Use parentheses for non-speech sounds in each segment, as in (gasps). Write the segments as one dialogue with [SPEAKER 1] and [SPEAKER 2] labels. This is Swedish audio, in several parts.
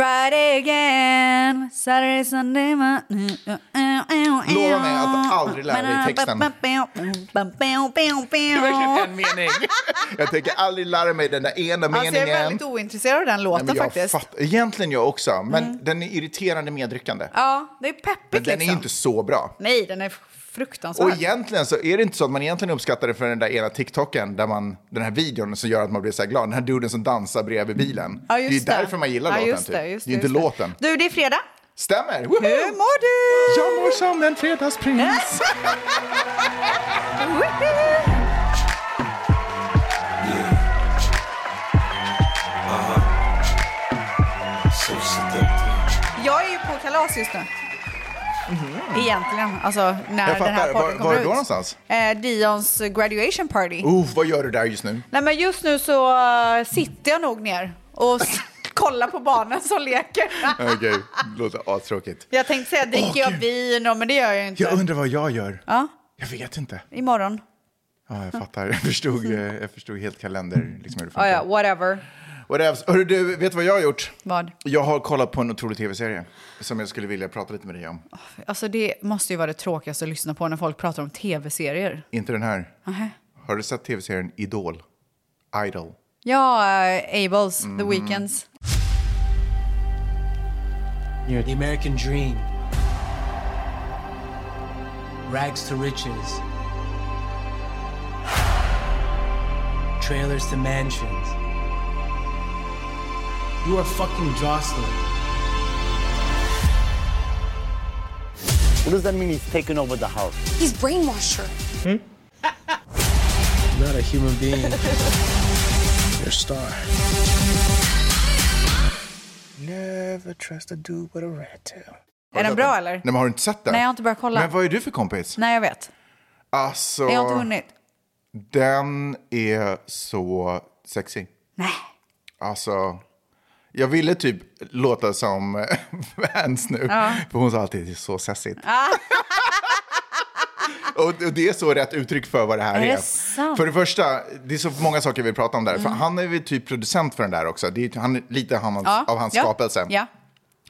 [SPEAKER 1] Friday again, Saturday, Sunday, Monday.
[SPEAKER 2] Lova mig att aldrig lära dig texten. Det är verkligen en mening. Jag tänker aldrig lära mig den där ena
[SPEAKER 1] Alltså jag är
[SPEAKER 2] meningen.
[SPEAKER 1] väldigt ointresserad av den låten
[SPEAKER 2] Nej, men jag
[SPEAKER 1] faktiskt. Mm.
[SPEAKER 2] fatt- Egentligen jag också, men den är irriterande medryckande.
[SPEAKER 1] Ja, det är peppigt
[SPEAKER 2] men den är
[SPEAKER 1] liksom.
[SPEAKER 2] ju inte så bra.
[SPEAKER 1] Nej, den är
[SPEAKER 2] Och
[SPEAKER 1] fruktansvärd.
[SPEAKER 2] egentligen så är det inte så att man egentligen uppskattar det för den där ena TikToken, där man, den här videon som gör att man blir så här glad, den här duden som dansar bredvid bilen.
[SPEAKER 1] Ja,
[SPEAKER 2] det är ju
[SPEAKER 1] just
[SPEAKER 2] därför man gillar
[SPEAKER 1] Ja,
[SPEAKER 2] låten.
[SPEAKER 1] just
[SPEAKER 2] typ.
[SPEAKER 1] just
[SPEAKER 2] det är ju inte
[SPEAKER 1] just
[SPEAKER 2] låten.
[SPEAKER 1] Du, det är fredag.
[SPEAKER 2] Stämmer! Woho!
[SPEAKER 1] Hur mår du?
[SPEAKER 2] Jag mår som en fredagsprins.
[SPEAKER 3] So seductive.
[SPEAKER 1] Jag är ju på kalas just nu. Egentligen, alltså när
[SPEAKER 2] Mhm. Jag
[SPEAKER 1] den här
[SPEAKER 2] fattar. Var-
[SPEAKER 1] podden
[SPEAKER 2] var
[SPEAKER 1] kommer
[SPEAKER 2] är
[SPEAKER 1] ut.
[SPEAKER 2] du då någonstans?
[SPEAKER 1] Eh, Dions graduation party.
[SPEAKER 2] Oh, vad gör du där just nu?
[SPEAKER 1] Nej, men just nu så eh, sitter jag nog ner och s- (laughs) kollar på barnen som leker.
[SPEAKER 2] Okej, det låter astråkigt.
[SPEAKER 1] jag tänkte säga, dricker
[SPEAKER 2] Åh,
[SPEAKER 1] jag
[SPEAKER 2] Gud.
[SPEAKER 1] vin? Och, men det gör jag ju inte.
[SPEAKER 2] Jag undrar vad jag gör.
[SPEAKER 1] ja,
[SPEAKER 2] Jag vet inte.
[SPEAKER 1] imorgon.
[SPEAKER 2] Ja, jag fattar. (laughs) Jag förstod, eh, jag förstod helt kalender, liksom hur det
[SPEAKER 1] Mm. Ja, ja,
[SPEAKER 2] funkar.
[SPEAKER 1] whatever.
[SPEAKER 2] Whatevs. Hörru du, vet du vad jag har gjort?
[SPEAKER 1] Vad?
[SPEAKER 2] Jag har kollat på en otrolig tv-serie som jag skulle vilja prata lite med dig om.
[SPEAKER 1] Alltså det måste ju vara det tråkigaste att lyssna på när folk pratar om tv-serier.
[SPEAKER 2] Inte den här.
[SPEAKER 1] Nähä.
[SPEAKER 2] Har du sett tv-serien Idol? Idol.
[SPEAKER 1] Ja, eh, Abels, The
[SPEAKER 2] Mm.
[SPEAKER 1] Weeknds.
[SPEAKER 3] You're the American dream. Rags to riches. Trailers to mansions. You are fucking Jocelyn.
[SPEAKER 4] What does that mean he's taken over the house?
[SPEAKER 5] He's brainwashed her.
[SPEAKER 3] Not a human being. (laughs) You're a star. Never trust a dude with a rat tail.
[SPEAKER 1] Är den bra eller?
[SPEAKER 2] Nej, men har du inte sett den?
[SPEAKER 1] Nej, jag har inte börjat kolla.
[SPEAKER 2] Men vad är du för kompis?
[SPEAKER 1] Nej, jag vet.
[SPEAKER 2] Alltså,
[SPEAKER 1] Jag har inte hunnit.
[SPEAKER 2] den är så sexy.
[SPEAKER 1] Nej.
[SPEAKER 2] Alltså, jag ville typ låta som (laughs) Vans nu. För hon sa alltid det är så sessigt. (laughs) och, och det är så rätt uttryck för vad det här
[SPEAKER 1] Är
[SPEAKER 2] är.
[SPEAKER 1] det sant? Mm.
[SPEAKER 2] För det första, det är så många saker vi pratar om där. För han är väl typ producent för den där också. Det är ju- han, är lite han,
[SPEAKER 1] Ja,
[SPEAKER 2] av hans
[SPEAKER 1] ja,
[SPEAKER 2] skapelse.
[SPEAKER 1] Ja.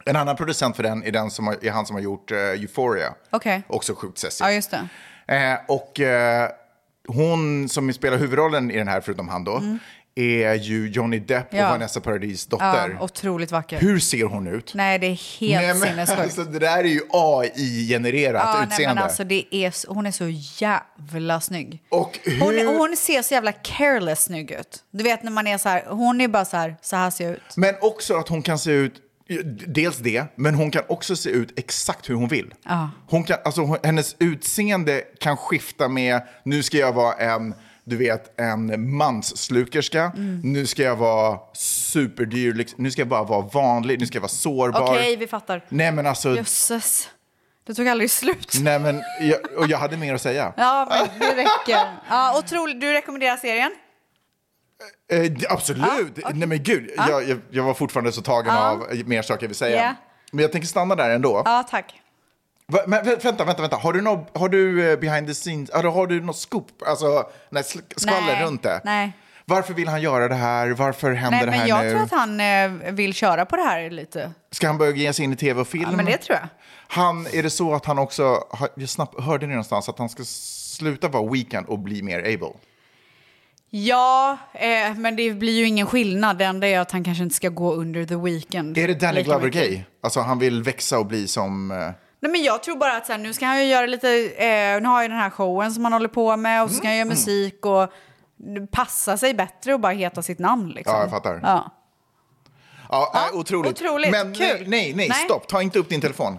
[SPEAKER 2] En annan producent för den är, den som har, är han som har gjort eh, Euphoria.
[SPEAKER 1] Okej.
[SPEAKER 2] Också sjukt sessigt.
[SPEAKER 1] ja, just det.
[SPEAKER 2] Eh, och eh, hon som spelar huvudrollen i den här, förutom han då, är ju Johnny Depp
[SPEAKER 1] Ja.
[SPEAKER 2] och Vanessa Paradis
[SPEAKER 1] Ja,
[SPEAKER 2] dotter.
[SPEAKER 1] otroligt vacker.
[SPEAKER 2] Hur ser hon ut?
[SPEAKER 1] Nej, det är
[SPEAKER 2] Nej,
[SPEAKER 1] helt
[SPEAKER 2] men
[SPEAKER 1] sinnessjukt.
[SPEAKER 2] (laughs) alltså, det där är ju AI-genererat
[SPEAKER 1] Ja, nej,
[SPEAKER 2] utseende.
[SPEAKER 1] men alltså, det är, så- hon är så jävla snygg.
[SPEAKER 2] Och hur-
[SPEAKER 1] hon, är- hon ser så jävla careless snygg ut. Du vet när man är så här, hon är bara så här, så här ser jag ut.
[SPEAKER 2] Men också att hon kan se ut, dels det, men hon kan också se ut exakt hur hon vill. Hon kan, alltså, hon- hennes utseende kan skifta med, nu ska jag vara en, du vet, en manslukerska,
[SPEAKER 1] Mm.
[SPEAKER 2] nu ska jag vara superdyr, lyx- nu ska jag bara vara vanlig, nu ska jag vara sårbar.
[SPEAKER 1] Okej, vi fattar.
[SPEAKER 2] Nej men alltså,
[SPEAKER 1] Jösses, det tog aldrig slut.
[SPEAKER 2] nej men, jag, och jag hade mer att säga.
[SPEAKER 1] Ja, men det räcker. Ja, otroligt. Du rekommenderar serien?
[SPEAKER 2] Eh, d-
[SPEAKER 1] Ah,
[SPEAKER 2] absolut! Nej men gud, jag, jag, jag var fortfarande så tagen av mer saker jag vill säga.
[SPEAKER 1] Ja.
[SPEAKER 2] Men jag tänker stanna där ändå.
[SPEAKER 1] Ja, tack.
[SPEAKER 2] Va, men vä- vänta, vänta, vänta. Har du, nå, har du eh, behind the scenes, eller har du något scoop, alltså nej, sl- skvaller
[SPEAKER 1] Nej,
[SPEAKER 2] runt det?
[SPEAKER 1] nej.
[SPEAKER 2] Varför vill han göra det här? Varför händer
[SPEAKER 1] Nej,
[SPEAKER 2] det
[SPEAKER 1] men
[SPEAKER 2] här
[SPEAKER 1] jag
[SPEAKER 2] nu?
[SPEAKER 1] tror att han eh, vill köra på det här lite.
[SPEAKER 2] Ska han börja ge sig in i tv och film?
[SPEAKER 1] Ja, men det tror jag.
[SPEAKER 2] Han, är det så att han också, har- jag snabbt, hörde ni någonstans att han ska sluta vara weekend och bli mer able?
[SPEAKER 1] Ja, eh, men det blir ju ingen skillnad. Det enda är att han kanske inte ska gå under the weekend.
[SPEAKER 2] Är det Danny
[SPEAKER 1] Lika
[SPEAKER 2] Glover
[SPEAKER 1] mycket.
[SPEAKER 2] gay? Alltså han vill växa och bli som... eh,
[SPEAKER 1] Nej, men jag tror bara att så här, nu ska han ju göra lite... Eh, nu har ju den här showen som han håller på med och så ska han
[SPEAKER 2] Mm.
[SPEAKER 1] göra musik och passa sig bättre och bara heta sitt namn. Liksom.
[SPEAKER 2] Ja, jag fattar.
[SPEAKER 1] Ja.
[SPEAKER 2] Ja,
[SPEAKER 1] Ja,
[SPEAKER 2] nej, otroligt.
[SPEAKER 1] otroligt.
[SPEAKER 2] Men nej,
[SPEAKER 1] Kul.
[SPEAKER 2] nej, nej,
[SPEAKER 1] Nej.
[SPEAKER 2] stopp. Ta inte upp din telefon.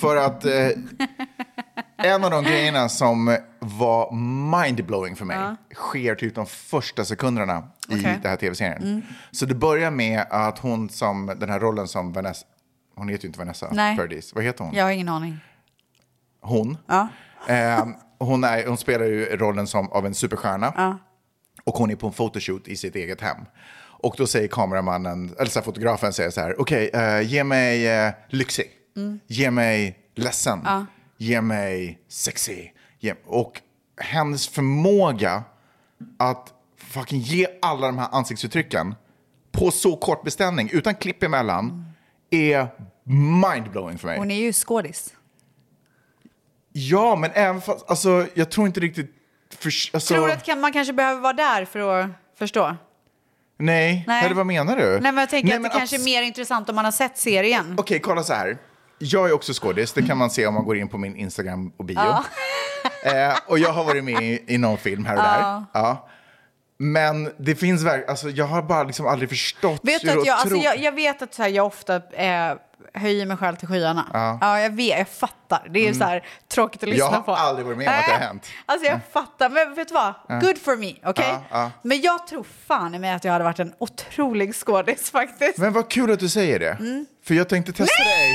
[SPEAKER 2] För att eh, en av de grejerna som var mindblowing för mig sker typ de första sekunderna i
[SPEAKER 1] Okej. Mm.
[SPEAKER 2] den här tv-serien. Så det börjar med att hon som, den här rollen som Vanessa, hon heter ju inte Vanessa
[SPEAKER 1] Nej.
[SPEAKER 2] Paradis, vad heter hon?
[SPEAKER 1] Jag har ingen aning.
[SPEAKER 2] Hon. Eh, hon, är, hon spelar ju rollen som, av en superstjärna. Och hon är på en photoshoot i sitt eget hem. Och då säger kameramannen, eller så här, fotografen säger så här, okej, eh, ge mig eh, lyxig. Ge mig ledsen. Ge mig sexy. Ge, och hennes förmåga att fucking ge alla de här ansiktsuttrycken på så kort beställning, utan klipp emellan, är mindblowing för mig.
[SPEAKER 1] Hon är ju skådis.
[SPEAKER 2] Ja, men även fast, alltså jag tror inte riktigt... För, alltså,
[SPEAKER 1] Tror du att kan- man kanske behöver vara där för att förstå?
[SPEAKER 2] Nej,
[SPEAKER 1] Nej.
[SPEAKER 2] eller vad menar du?
[SPEAKER 1] Nej, men jag tänker att det
[SPEAKER 2] men
[SPEAKER 1] kanske är
[SPEAKER 2] abs-
[SPEAKER 1] mer intressant om man har sett serien.
[SPEAKER 2] Okej, kolla så här. Jag är också skådis, det kan man se om man går in på min Instagram och bio. (laughs) eh, och jag har varit med i, i någon film här och där. Ja. Men det finns verkligen, alltså, jag har bara liksom aldrig förstått
[SPEAKER 1] Vet du
[SPEAKER 2] hur
[SPEAKER 1] att jag, alltså,
[SPEAKER 2] otro-
[SPEAKER 1] jag, jag vet att så här, jag ofta eh, höjer mig själv till skyarna. Ja. jag vet, jag fattar. Det är så här, tråkigt att lyssna
[SPEAKER 2] Mm. har
[SPEAKER 1] på.
[SPEAKER 2] aldrig varit med om att det har
[SPEAKER 1] Nej.
[SPEAKER 2] hänt. Mm.
[SPEAKER 1] Alltså jag fattar, men vet du vad? Good for me, okej?
[SPEAKER 2] Ja, ja.
[SPEAKER 1] Men jag tror fan i mig att jag hade varit en otrolig skådis faktiskt.
[SPEAKER 2] Men vad kul att du säger det.
[SPEAKER 1] Mm.
[SPEAKER 2] För jag tänkte testa dig.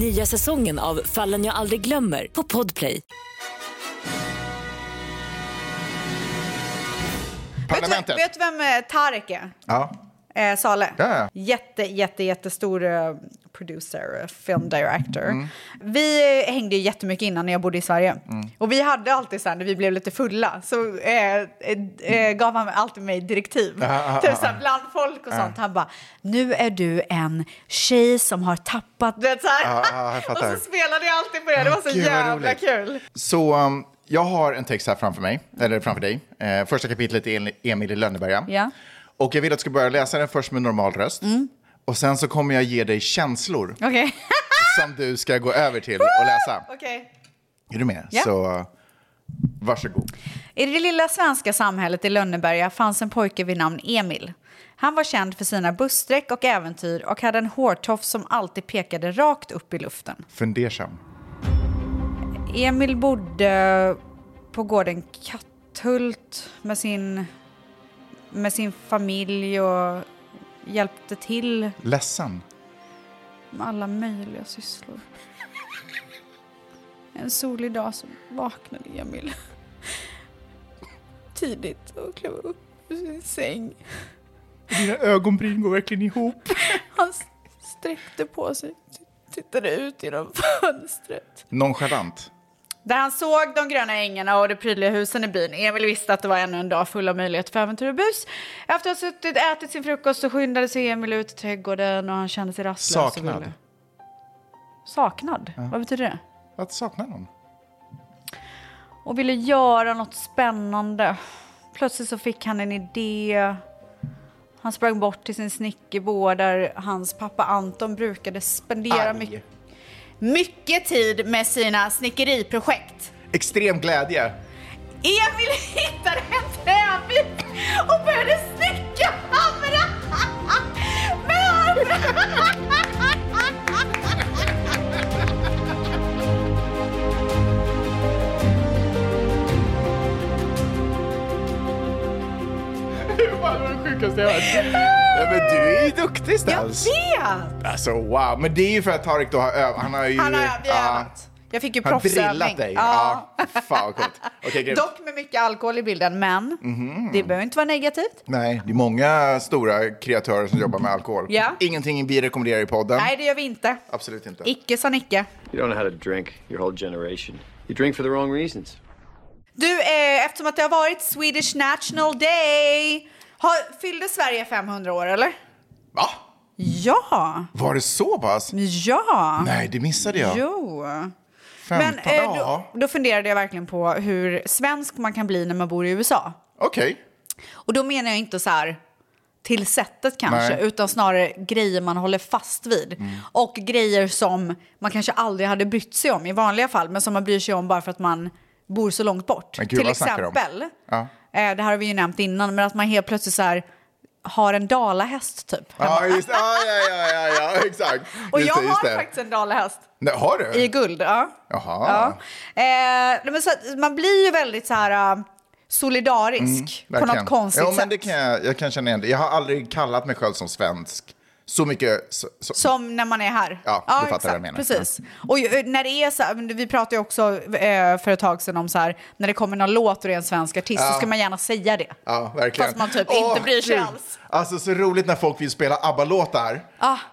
[SPEAKER 5] Nya säsongen av Fallen jag aldrig glömmer på Podplay.
[SPEAKER 1] Vet, du-
[SPEAKER 2] Parlamentet.
[SPEAKER 1] vet du vem eh, Tarek är?
[SPEAKER 2] Ja.
[SPEAKER 1] Eh, Saleh.
[SPEAKER 2] Ja.
[SPEAKER 1] Jätte, jätte, jättestor eh, producer, eh, film director.
[SPEAKER 2] Mm.
[SPEAKER 1] Vi eh, hängde ju jättemycket innan när jag bodde i Sverige.
[SPEAKER 2] Mm.
[SPEAKER 1] Och vi hade alltid så här, när vi blev lite fulla, så eh, eh, eh, gav han alltid mig direktiv. typ så här, bland folk och sånt. Han bara, nu är du en tjej som har tappat... Du vet, så här.
[SPEAKER 2] Ja, ja,
[SPEAKER 1] (laughs)
[SPEAKER 2] jag
[SPEAKER 1] och
[SPEAKER 2] fattar.
[SPEAKER 1] så spelade jag alltid på det. Det var så
[SPEAKER 2] Gud, vad
[SPEAKER 1] jävla
[SPEAKER 2] roligt.
[SPEAKER 1] kul.
[SPEAKER 2] Så um, jag har en text här framför mig, eller framför dig. Eh, första kapitlet är Emil- Emil i Lönneberga.
[SPEAKER 1] Ja. Mm.
[SPEAKER 2] Och jag vill att du ska börja läsa den först med normal röst. Och sen så kommer jag ge dig känslor
[SPEAKER 1] Okej. Ah!
[SPEAKER 2] som du ska gå över till och läsa.
[SPEAKER 1] (laughs) Okej.
[SPEAKER 2] Är du med?
[SPEAKER 1] Ja.
[SPEAKER 2] Så uh, varsågod.
[SPEAKER 1] I det lilla svenska samhället i Lönneberga fanns en pojke vid namn Emil. Han var känd för sina busstreck och äventyr och hade en hårtofs som alltid pekade rakt upp i luften.
[SPEAKER 2] Fundersam.
[SPEAKER 1] Emil bodde på gården Katthult med sin, med sin familj och hjälpte till
[SPEAKER 2] Ledsen.
[SPEAKER 1] med alla möjliga sysslor. En solig dag så vaknade Emil tidigt och klev upp ur sin säng.
[SPEAKER 2] Dina ögonbryn går verkligen ihop.
[SPEAKER 1] Han s- sträckte på sig t- tittade ut genom (laughs) fönstret.
[SPEAKER 2] Nonchalant.
[SPEAKER 1] Där han såg de gröna ängarna och de prydliga husen i byn. Emil visste att det var ännu en dag full av möjlighet för äventyr och bus. Efter att ha suttit ätit sin frukost så skyndade sig Emil ut i trädgården och han kände sig rastlös. och
[SPEAKER 2] Saknad.
[SPEAKER 1] ville- Saknad? Vad betyder det?
[SPEAKER 2] Att sakna någon.
[SPEAKER 1] och ville göra något spännande. Plötsligt så fick han en idé. Han sprang bort till sin snickerbåd där hans pappa Anton brukade spendera
[SPEAKER 2] Arg.
[SPEAKER 1] mycket, mycket tid med sina snickeriprojekt.
[SPEAKER 2] Extrem glädje.
[SPEAKER 1] Emil hittade en träbit och började snicka (laughs) hamra. Men
[SPEAKER 2] Det var det sjukaste jag hört. Ja, men du är ju duktig Stans.
[SPEAKER 1] vet!
[SPEAKER 2] Alltså wow. Men det är ju för att Tarik då har övat. Han har ju...
[SPEAKER 1] Han har vi har
[SPEAKER 2] ja.
[SPEAKER 1] övat. Jag fick ju
[SPEAKER 2] Han har
[SPEAKER 1] proffsövning.
[SPEAKER 2] drillat dig.
[SPEAKER 1] Ja.
[SPEAKER 2] Ja. Fan vad coolt. Okej, grymt.
[SPEAKER 1] Dock med mycket alkohol i bilden, men
[SPEAKER 2] Mhm.
[SPEAKER 1] det behöver inte vara negativt.
[SPEAKER 2] Nej, det är många stora kreatörer som jobbar med alkohol.
[SPEAKER 1] Ja.
[SPEAKER 2] Ingenting vi rekommenderar i podden.
[SPEAKER 1] Nej, det gör vi inte.
[SPEAKER 2] Absolut inte.
[SPEAKER 1] Icke sa Nicke.
[SPEAKER 6] You don't know how to drink, your whole generation. You drink for the wrong reasons.
[SPEAKER 1] Du, eh, eftersom att det har varit Swedish National Day. Har, fyllde Sverige 500 år, eller?
[SPEAKER 2] Va?
[SPEAKER 1] Ja.
[SPEAKER 2] Var det så pass?
[SPEAKER 1] Ja.
[SPEAKER 2] Nej, det missade jag.
[SPEAKER 1] Mm. Jo. Men
[SPEAKER 2] Femton,
[SPEAKER 1] eh, då,
[SPEAKER 2] ja.
[SPEAKER 1] då funderade jag verkligen på hur svensk man kan bli när man bor i USA.
[SPEAKER 2] Okej.
[SPEAKER 1] Och då menar jag inte så här till sättet kanske,
[SPEAKER 2] Nej. Mm.
[SPEAKER 1] utan snarare grejer man håller fast vid. Och grejer som man kanske aldrig hade brytt sig om i vanliga fall, men som man bryr sig om bara för att man bor så långt bort.
[SPEAKER 2] Men gud,
[SPEAKER 1] till
[SPEAKER 2] vad snackar de om?
[SPEAKER 1] exempel,
[SPEAKER 2] Ja.
[SPEAKER 1] eh, det här har vi ju nämnt innan, men att man helt plötsligt så här har en dalahäst typ.
[SPEAKER 2] Ja, just ja, ja, ja, ja, ja, exakt.
[SPEAKER 1] (laughs) Och
[SPEAKER 2] just
[SPEAKER 1] jag
[SPEAKER 2] det, just
[SPEAKER 1] har
[SPEAKER 2] det.
[SPEAKER 1] faktiskt en dalahäst
[SPEAKER 2] Nej, har du?
[SPEAKER 1] i guld. Ja.
[SPEAKER 2] Jaha.
[SPEAKER 1] Ja. Eh, nej, men så, att man blir ju väldigt så här... eh, solidarisk på
[SPEAKER 2] Mm, Verkligen.
[SPEAKER 1] något konstigt
[SPEAKER 2] ja, men
[SPEAKER 1] sätt.
[SPEAKER 2] det kan jag, jag kan känna igen det. Jag har aldrig kallat mig själv som svensk. Så mycket. Så, så,
[SPEAKER 1] Som när man är här.
[SPEAKER 2] Ja, du fattar vad jag
[SPEAKER 1] exakt.
[SPEAKER 2] menar.
[SPEAKER 1] Precis. Och ju- när det är så här, men vi pratade ju också eh, för ett tag sedan om så här, när det kommer någon låt och det är en svensk artist så ska man gärna säga det.
[SPEAKER 2] Ja, verkligen.
[SPEAKER 1] Fast man typ
[SPEAKER 2] Åh,
[SPEAKER 1] inte bryr sig
[SPEAKER 2] gud.
[SPEAKER 1] alls. Ah.
[SPEAKER 2] Alltså så roligt när folk vill spela ABBA-låtar.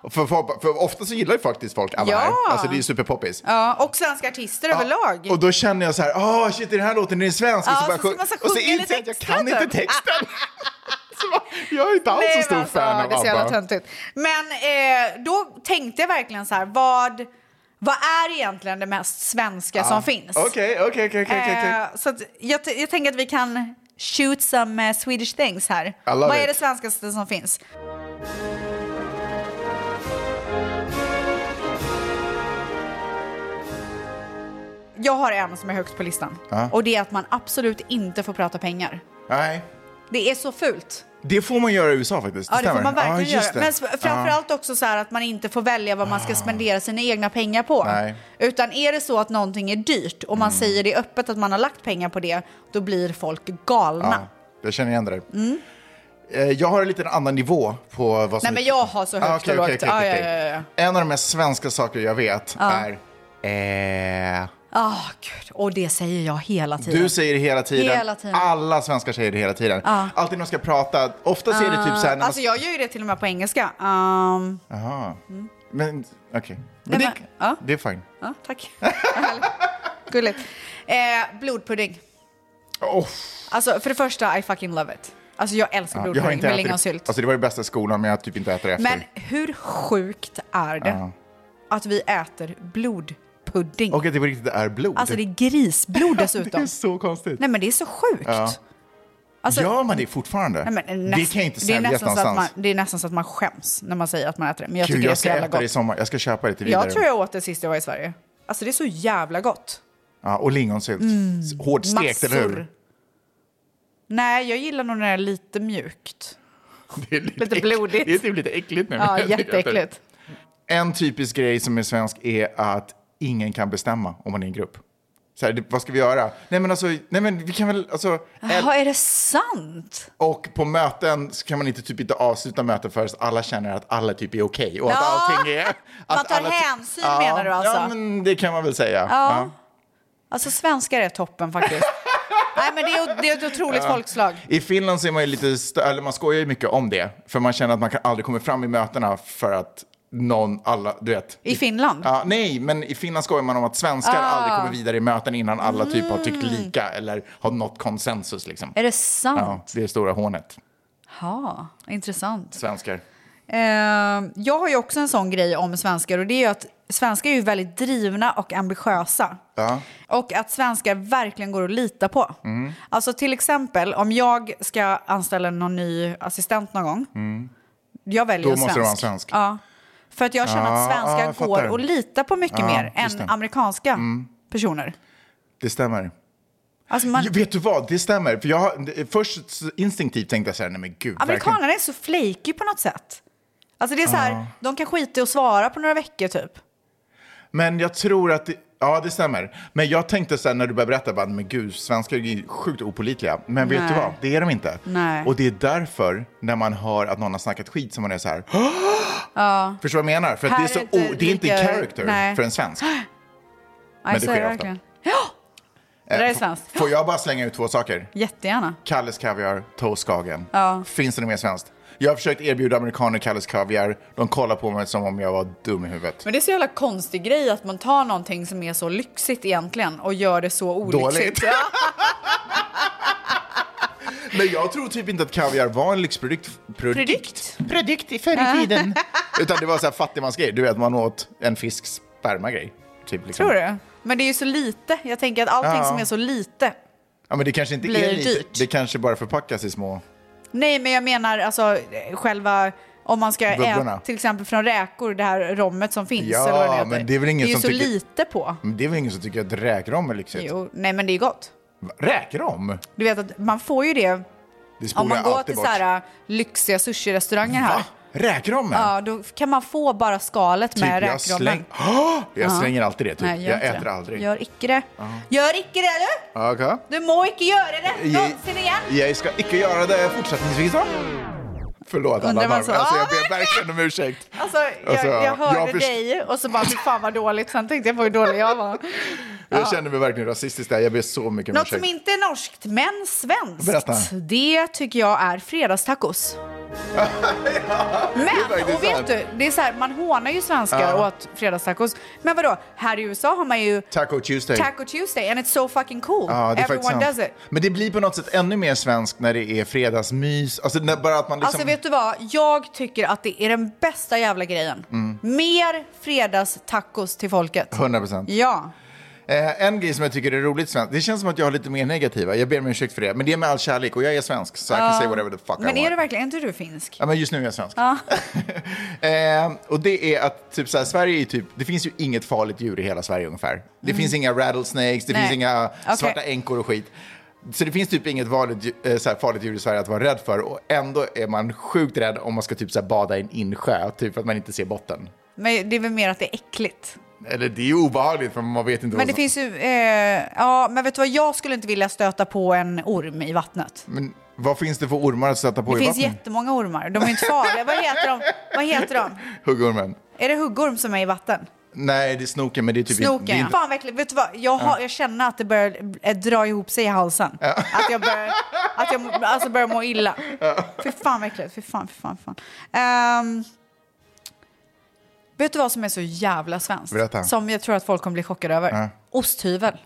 [SPEAKER 2] För, för, för ofta så gillar ju faktiskt folk ABBA
[SPEAKER 1] Ja.
[SPEAKER 2] här. Alltså det är ju superpoppis.
[SPEAKER 1] Ja, och svenska artister överlag.
[SPEAKER 2] Och då känner jag så här, åh shit, är den här låten, är den svensk?
[SPEAKER 1] Ja,
[SPEAKER 2] och så, bara
[SPEAKER 1] så ska
[SPEAKER 2] sjung-
[SPEAKER 1] man så
[SPEAKER 2] och så
[SPEAKER 1] sjunga
[SPEAKER 2] inser jag att
[SPEAKER 1] lite
[SPEAKER 2] jag kan
[SPEAKER 1] extra
[SPEAKER 2] inte
[SPEAKER 1] typ. Ah.
[SPEAKER 2] texten. (laughs) så bara, jag är inte alls så
[SPEAKER 1] Nej,
[SPEAKER 2] stor
[SPEAKER 1] men alltså,
[SPEAKER 2] fan av
[SPEAKER 1] Det är så jävla
[SPEAKER 2] ABBA.
[SPEAKER 1] töntigt. Men eh, då tänkte jag verkligen så här, vad, vad är egentligen det mest svenska som finns?
[SPEAKER 2] Okej, okej, okej, okej, okej. okej.
[SPEAKER 1] Eh, Så att jag, t- jag tänker att vi kan shoot some eh, Swedish things här.
[SPEAKER 2] love
[SPEAKER 1] Vad är
[SPEAKER 2] it.
[SPEAKER 1] det svenskaste som finns? Jag har en som är högst på listan. Och det är att man absolut inte får prata pengar.
[SPEAKER 2] Nej.
[SPEAKER 1] Det är så fult.
[SPEAKER 2] Det får man göra i USA faktiskt.
[SPEAKER 1] Ja, det får
[SPEAKER 2] stämmer.
[SPEAKER 1] man verkligen
[SPEAKER 2] Ja, just
[SPEAKER 1] göra. Men s- framförallt också så här att man inte får välja vad man ska spendera sina egna pengar på.
[SPEAKER 2] Nej. Mm.
[SPEAKER 1] Utan är det så att någonting är dyrt och man säger det öppet att man har lagt pengar på det, då blir folk galna.
[SPEAKER 2] Jag känner igen det där. Eh, Jag har en liten annan nivå på vad som...
[SPEAKER 1] Nej, men jag har så högt
[SPEAKER 2] Ah,
[SPEAKER 1] och
[SPEAKER 2] okej,
[SPEAKER 1] lågt.
[SPEAKER 2] okej, okej,
[SPEAKER 1] Ah, ja,
[SPEAKER 2] okej.
[SPEAKER 1] ja, ja,
[SPEAKER 2] En av de mest svenska saker jag vet är... Eh,
[SPEAKER 1] Ah, gud. Och det säger jag hela tiden.
[SPEAKER 2] du säger det hela tiden.
[SPEAKER 1] Hela tiden.
[SPEAKER 2] Alla svenskar säger det hela tiden. Alltid när de ska prata. Ofta ser det typ så här... När
[SPEAKER 1] Alltså
[SPEAKER 2] man...
[SPEAKER 1] jag gör ju det till och med på engelska. Um,
[SPEAKER 2] Aha. Men okej. Men,
[SPEAKER 1] Nej,
[SPEAKER 2] det,
[SPEAKER 1] men- ja.
[SPEAKER 2] det är fine.
[SPEAKER 1] ja,
[SPEAKER 2] (laughs)
[SPEAKER 1] tack. Härligt. Gulligt. Eh, blodpudding.
[SPEAKER 2] Oh,
[SPEAKER 1] Alltså för det första, I fucking love it. Alltså jag älskar
[SPEAKER 2] jag har
[SPEAKER 1] blodpudding
[SPEAKER 2] inte
[SPEAKER 1] med
[SPEAKER 2] ätit det.
[SPEAKER 1] lingonsylt.
[SPEAKER 2] Alltså, det var det bästa i skolan, men jag har typ inte ätit det efter.
[SPEAKER 1] Men hur sjukt är det att vi äter blodpudding?
[SPEAKER 2] Och att det på riktigt är blod.
[SPEAKER 1] Alltså det är
[SPEAKER 2] (laughs)
[SPEAKER 1] grisblod
[SPEAKER 2] det
[SPEAKER 1] dessutom.
[SPEAKER 2] är så konstigt.
[SPEAKER 1] Nej men det är så sjukt. Alltså,
[SPEAKER 2] Gör man det fortfarande?
[SPEAKER 1] nej, men näst-
[SPEAKER 2] det kan inte
[SPEAKER 1] det är
[SPEAKER 2] säljas
[SPEAKER 1] nästan så att
[SPEAKER 2] någonstans.
[SPEAKER 1] man, Det är nästan så att man skäms när man säger att man äter det. Men jag
[SPEAKER 2] Gud,
[SPEAKER 1] tycker
[SPEAKER 2] jag ska
[SPEAKER 1] det är så
[SPEAKER 2] äta
[SPEAKER 1] jävla
[SPEAKER 2] det i
[SPEAKER 1] gott.
[SPEAKER 2] sommar. Jag ska köpa det till vidare.
[SPEAKER 1] Jag tror jag åt det sist jag var i Sverige. Alltså det är så jävla gott.
[SPEAKER 2] ja, och lingonsylt. Hårt stekt, eller hur?
[SPEAKER 1] Mm. Massor. Nej, jag gillar nog när det är lite mjukt.
[SPEAKER 2] Det är lite,
[SPEAKER 1] Lite
[SPEAKER 2] äck-
[SPEAKER 1] blodigt.
[SPEAKER 2] (laughs) Det är typ lite äckligt nu. (laughs)
[SPEAKER 1] Ja,
[SPEAKER 2] Jag tycker att det-
[SPEAKER 1] jätteäckligt.
[SPEAKER 2] En typisk grej som är svensk är att ingen kan bestämma om man är i en grupp. Så här, det- vad ska vi göra? Nej men alltså, nej men vi kan väl, alltså, el-
[SPEAKER 1] Jaha, är det sant?
[SPEAKER 2] och på möten så kan man inte typ inte avsluta möten förrän alla känner att alla typ är okej och att
[SPEAKER 1] Ja.
[SPEAKER 2] allting är...
[SPEAKER 1] Man
[SPEAKER 2] att
[SPEAKER 1] tar
[SPEAKER 2] alla ty-
[SPEAKER 1] hänsyn, menar du alltså?
[SPEAKER 2] Ja, men det kan man väl säga. Ja.
[SPEAKER 1] Alltså svenskar är toppen
[SPEAKER 2] (laughs)
[SPEAKER 1] faktiskt. Nej men det är, det är ett otroligt folkslag.
[SPEAKER 2] I Finland så är man ju lite, stö- eller man skojar ju mycket om det, för man känner att man kan aldrig komma fram i mötena för att någon, alla, du vet.
[SPEAKER 1] I Finland? Ah.
[SPEAKER 2] Ja, nej, men i Finland skojar man om att svenskar aldrig kommer vidare i möten innan alla typ har tyckt lika eller har nått konsensus liksom.
[SPEAKER 1] Mm. Är det
[SPEAKER 2] Ja,
[SPEAKER 1] sant?
[SPEAKER 2] det är stora hånet,
[SPEAKER 1] Ja, intressant.
[SPEAKER 2] svenskar.
[SPEAKER 1] Eh, jag har ju också en sån grej om svenskar och det är ju att svenskar är ju väldigt drivna och ambitiösa. Och att svenskar verkligen går att lita på.
[SPEAKER 2] Mm.
[SPEAKER 1] Alltså till exempel om jag ska anställa någon ny assistent någon gång. Jag väljer
[SPEAKER 2] Mm.
[SPEAKER 1] en
[SPEAKER 2] Då måste
[SPEAKER 1] svensk.
[SPEAKER 2] det vara en svensk.
[SPEAKER 1] Ja. För att jag känner att
[SPEAKER 2] Ja, jag
[SPEAKER 1] svenskar
[SPEAKER 2] fattar.
[SPEAKER 1] går att lita på mycket
[SPEAKER 2] Ja,
[SPEAKER 1] mer
[SPEAKER 2] just
[SPEAKER 1] än
[SPEAKER 2] det. Mm.
[SPEAKER 1] amerikanska personer.
[SPEAKER 2] Det stämmer.
[SPEAKER 1] Alltså man,
[SPEAKER 2] Ja, Vet du vad, det stämmer. För jag, först så instinktivt tänkte jag så här, nej men gud. verkligen.
[SPEAKER 1] Amerikanerna är så flaky på något sätt. Alltså det är så här, de kan skita i att svara på några veckor typ.
[SPEAKER 2] Men jag tror att, det, ja det stämmer. Men jag tänkte sen när du började berätta, bara, men gud, svenskar är ju sjukt opolitliga. Men vet
[SPEAKER 1] Nej.
[SPEAKER 2] du vad, det är de inte.
[SPEAKER 1] Nej.
[SPEAKER 2] Och det är därför, när man hör att någon har snackat skit, som man är så här, Förstår du vad jag menar? För att
[SPEAKER 1] Här
[SPEAKER 2] det är, så,
[SPEAKER 1] är inte
[SPEAKER 2] o, det är inte
[SPEAKER 1] lika-
[SPEAKER 2] character
[SPEAKER 1] nej.
[SPEAKER 2] för en svensk.
[SPEAKER 1] Men
[SPEAKER 2] det sker ofta. (gasps) Eh,
[SPEAKER 1] Ja! Det där är svenskt.
[SPEAKER 2] Får jag bara slänga ut två saker?
[SPEAKER 1] Jättegärna.
[SPEAKER 2] Kalles Kaviar, Toastkagen. Finns det något mer svenskt? Jag har försökt erbjuda amerikaner Kalles Kaviar. De kollar på mig som om jag var dum i huvudet.
[SPEAKER 1] Men det är så jävla konstig grej att man tar någonting som är så lyxigt egentligen och gör det så olyxigt.
[SPEAKER 2] Dåligt.
[SPEAKER 1] (laughs)
[SPEAKER 2] Men jag tror typ inte att kaviar var en lyxprodukt.
[SPEAKER 1] Produkt.
[SPEAKER 2] Produkt i förr i tiden. (laughs) Utan det var så här fattigmansgrej. Du vet, man åt en fisks spermagrej. Typ, liksom.
[SPEAKER 1] Tror du? Men det är ju så lite. Jag tänker att allting
[SPEAKER 2] Ja.
[SPEAKER 1] som är så lite.
[SPEAKER 2] Ja, men det kanske inte
[SPEAKER 1] Blir
[SPEAKER 2] är lite.
[SPEAKER 1] dyrt.
[SPEAKER 2] Det kanske bara förpackas i små...
[SPEAKER 1] Nej, men jag menar alltså eh, själva... Om man ska
[SPEAKER 2] Bubblorna.
[SPEAKER 1] äta till exempel från räkor, det här rommet som finns.
[SPEAKER 2] Ja,
[SPEAKER 1] eller vad heter.
[SPEAKER 2] men det är väl ingen
[SPEAKER 1] det är ju
[SPEAKER 2] som
[SPEAKER 1] så
[SPEAKER 2] tycker-
[SPEAKER 1] lite på.
[SPEAKER 2] Men det är väl ingen som tycker att räkrom är lyxigt?
[SPEAKER 1] Jo, nej, men det är gott.
[SPEAKER 2] Va, Räkrom?
[SPEAKER 1] Du vet att man får ju det
[SPEAKER 2] Det spolar
[SPEAKER 1] om man
[SPEAKER 2] jag
[SPEAKER 1] går
[SPEAKER 2] alltid
[SPEAKER 1] till
[SPEAKER 2] bort. Ah,
[SPEAKER 1] så här lyxiga sushi-restauranger här.
[SPEAKER 2] Räkrommen?
[SPEAKER 1] Ja, då kan man få bara skalet
[SPEAKER 2] Typ,
[SPEAKER 1] med
[SPEAKER 2] jag,
[SPEAKER 1] räkrommen.
[SPEAKER 2] släng... Åh! (gasps) jag slänger alltid det, typ.
[SPEAKER 1] Nej, gör
[SPEAKER 2] jag
[SPEAKER 1] inte
[SPEAKER 2] äter
[SPEAKER 1] det.
[SPEAKER 2] aldrig.
[SPEAKER 1] Gör icke det. Gör icke det, du!
[SPEAKER 2] Okej.
[SPEAKER 1] Du må icke göra det
[SPEAKER 2] Jag-
[SPEAKER 1] någonsin igen.
[SPEAKER 2] Jag ska icke göra det fortsättningsvis. då. Förlåt alla
[SPEAKER 1] Undrar man
[SPEAKER 2] barn,
[SPEAKER 1] så,
[SPEAKER 2] alltså,
[SPEAKER 1] "Ah,
[SPEAKER 2] jag ber verkligen om ursäkt.
[SPEAKER 1] Alltså, jag,
[SPEAKER 2] Alltså,
[SPEAKER 1] jag hörde
[SPEAKER 2] jag först-
[SPEAKER 1] dig och så bara, fy fan vad dåligt. Sen tänkte jag på hur dålig jag var.
[SPEAKER 2] Jag känner mig verkligen rasistisk där, jag ber så mycket om
[SPEAKER 1] Något som
[SPEAKER 2] ursäkt.
[SPEAKER 1] inte är norskt, men svenskt.
[SPEAKER 2] Berätta.
[SPEAKER 1] Det tycker jag är
[SPEAKER 2] (laughs)
[SPEAKER 1] fredagstacos.
[SPEAKER 2] är
[SPEAKER 1] men,
[SPEAKER 2] faktiskt
[SPEAKER 1] och vet
[SPEAKER 2] sant.
[SPEAKER 1] du, det är så här, man hånar ju svenskar åt fredagstacos. Men vadå, här i USA har man ju
[SPEAKER 2] Taco Tuesday.
[SPEAKER 1] Taco Tuesday and it's so fucking cool.
[SPEAKER 2] Ja, det är faktiskt
[SPEAKER 1] Everyone
[SPEAKER 2] sant.
[SPEAKER 1] does it.
[SPEAKER 2] Men det blir på något sätt ännu mer svenskt när det är fredagsmys. Alltså när, bara att man liksom...
[SPEAKER 1] Alltså vet du vad, jag tycker att det är den bästa jävla grejen.
[SPEAKER 2] Mm.
[SPEAKER 1] Mer fredagstacos till folket.
[SPEAKER 2] 100 procent.
[SPEAKER 1] Ja.
[SPEAKER 2] Eh, en grej som jag tycker är roligt svenskt, det känns som att jag har lite mer negativa, jag ber om ursäkt för det, men det är med all kärlek och jag är svensk så jag kan säga whatever the fuck I
[SPEAKER 1] Men är
[SPEAKER 2] want.
[SPEAKER 1] du verkligen, är inte du finsk?
[SPEAKER 2] Ja, men just nu är jag svensk. (laughs) eh, och det är att typ så här, Sverige är typ, det finns ju inget farligt djur i hela Sverige ungefär. Det finns inga rattlesnakes, det
[SPEAKER 1] Mm. Nej.
[SPEAKER 2] finns inga
[SPEAKER 1] Okej.
[SPEAKER 2] svarta änkor och skit. Så det finns typ inget farligt, dju- eh, så här, farligt djur i Sverige att vara rädd för och ändå är man sjukt rädd om man ska typ så här, bada i en insjö, typ för att man inte ser botten.
[SPEAKER 1] Men det är väl mer att det är äckligt.
[SPEAKER 2] Eller det är ju obehagligt för man vet inte
[SPEAKER 1] Men
[SPEAKER 2] vad
[SPEAKER 1] det
[SPEAKER 2] som...
[SPEAKER 1] finns ju, eh, ja men vet du vad, jag skulle inte vilja stöta på en orm i vattnet.
[SPEAKER 2] Men vad finns det för ormar att sätta på
[SPEAKER 1] Det
[SPEAKER 2] i
[SPEAKER 1] finns
[SPEAKER 2] vattnet?
[SPEAKER 1] jättemånga ormar, de är inte farliga. vad heter de? Vad heter de?
[SPEAKER 2] Huggormen?
[SPEAKER 1] Är det huggorm som är i vatten?
[SPEAKER 2] Nej, det är snoken, men det är typ inte...
[SPEAKER 1] Snoken,
[SPEAKER 2] det är
[SPEAKER 1] ja.
[SPEAKER 2] inte-
[SPEAKER 1] Fan verkligen, vet du vad? Jag, har, jag känner att det börjar eh, dra ihop sig i halsen. Att jag börjar, att jag må- alltså börjar må illa. Fy fan verkligen, fy fan, fy fan, fy fan. Ehm, vet du vad som är så jävla svenskt?
[SPEAKER 2] Berätta.
[SPEAKER 1] Som jag tror att folk kommer bli chockade över? Osthyvel.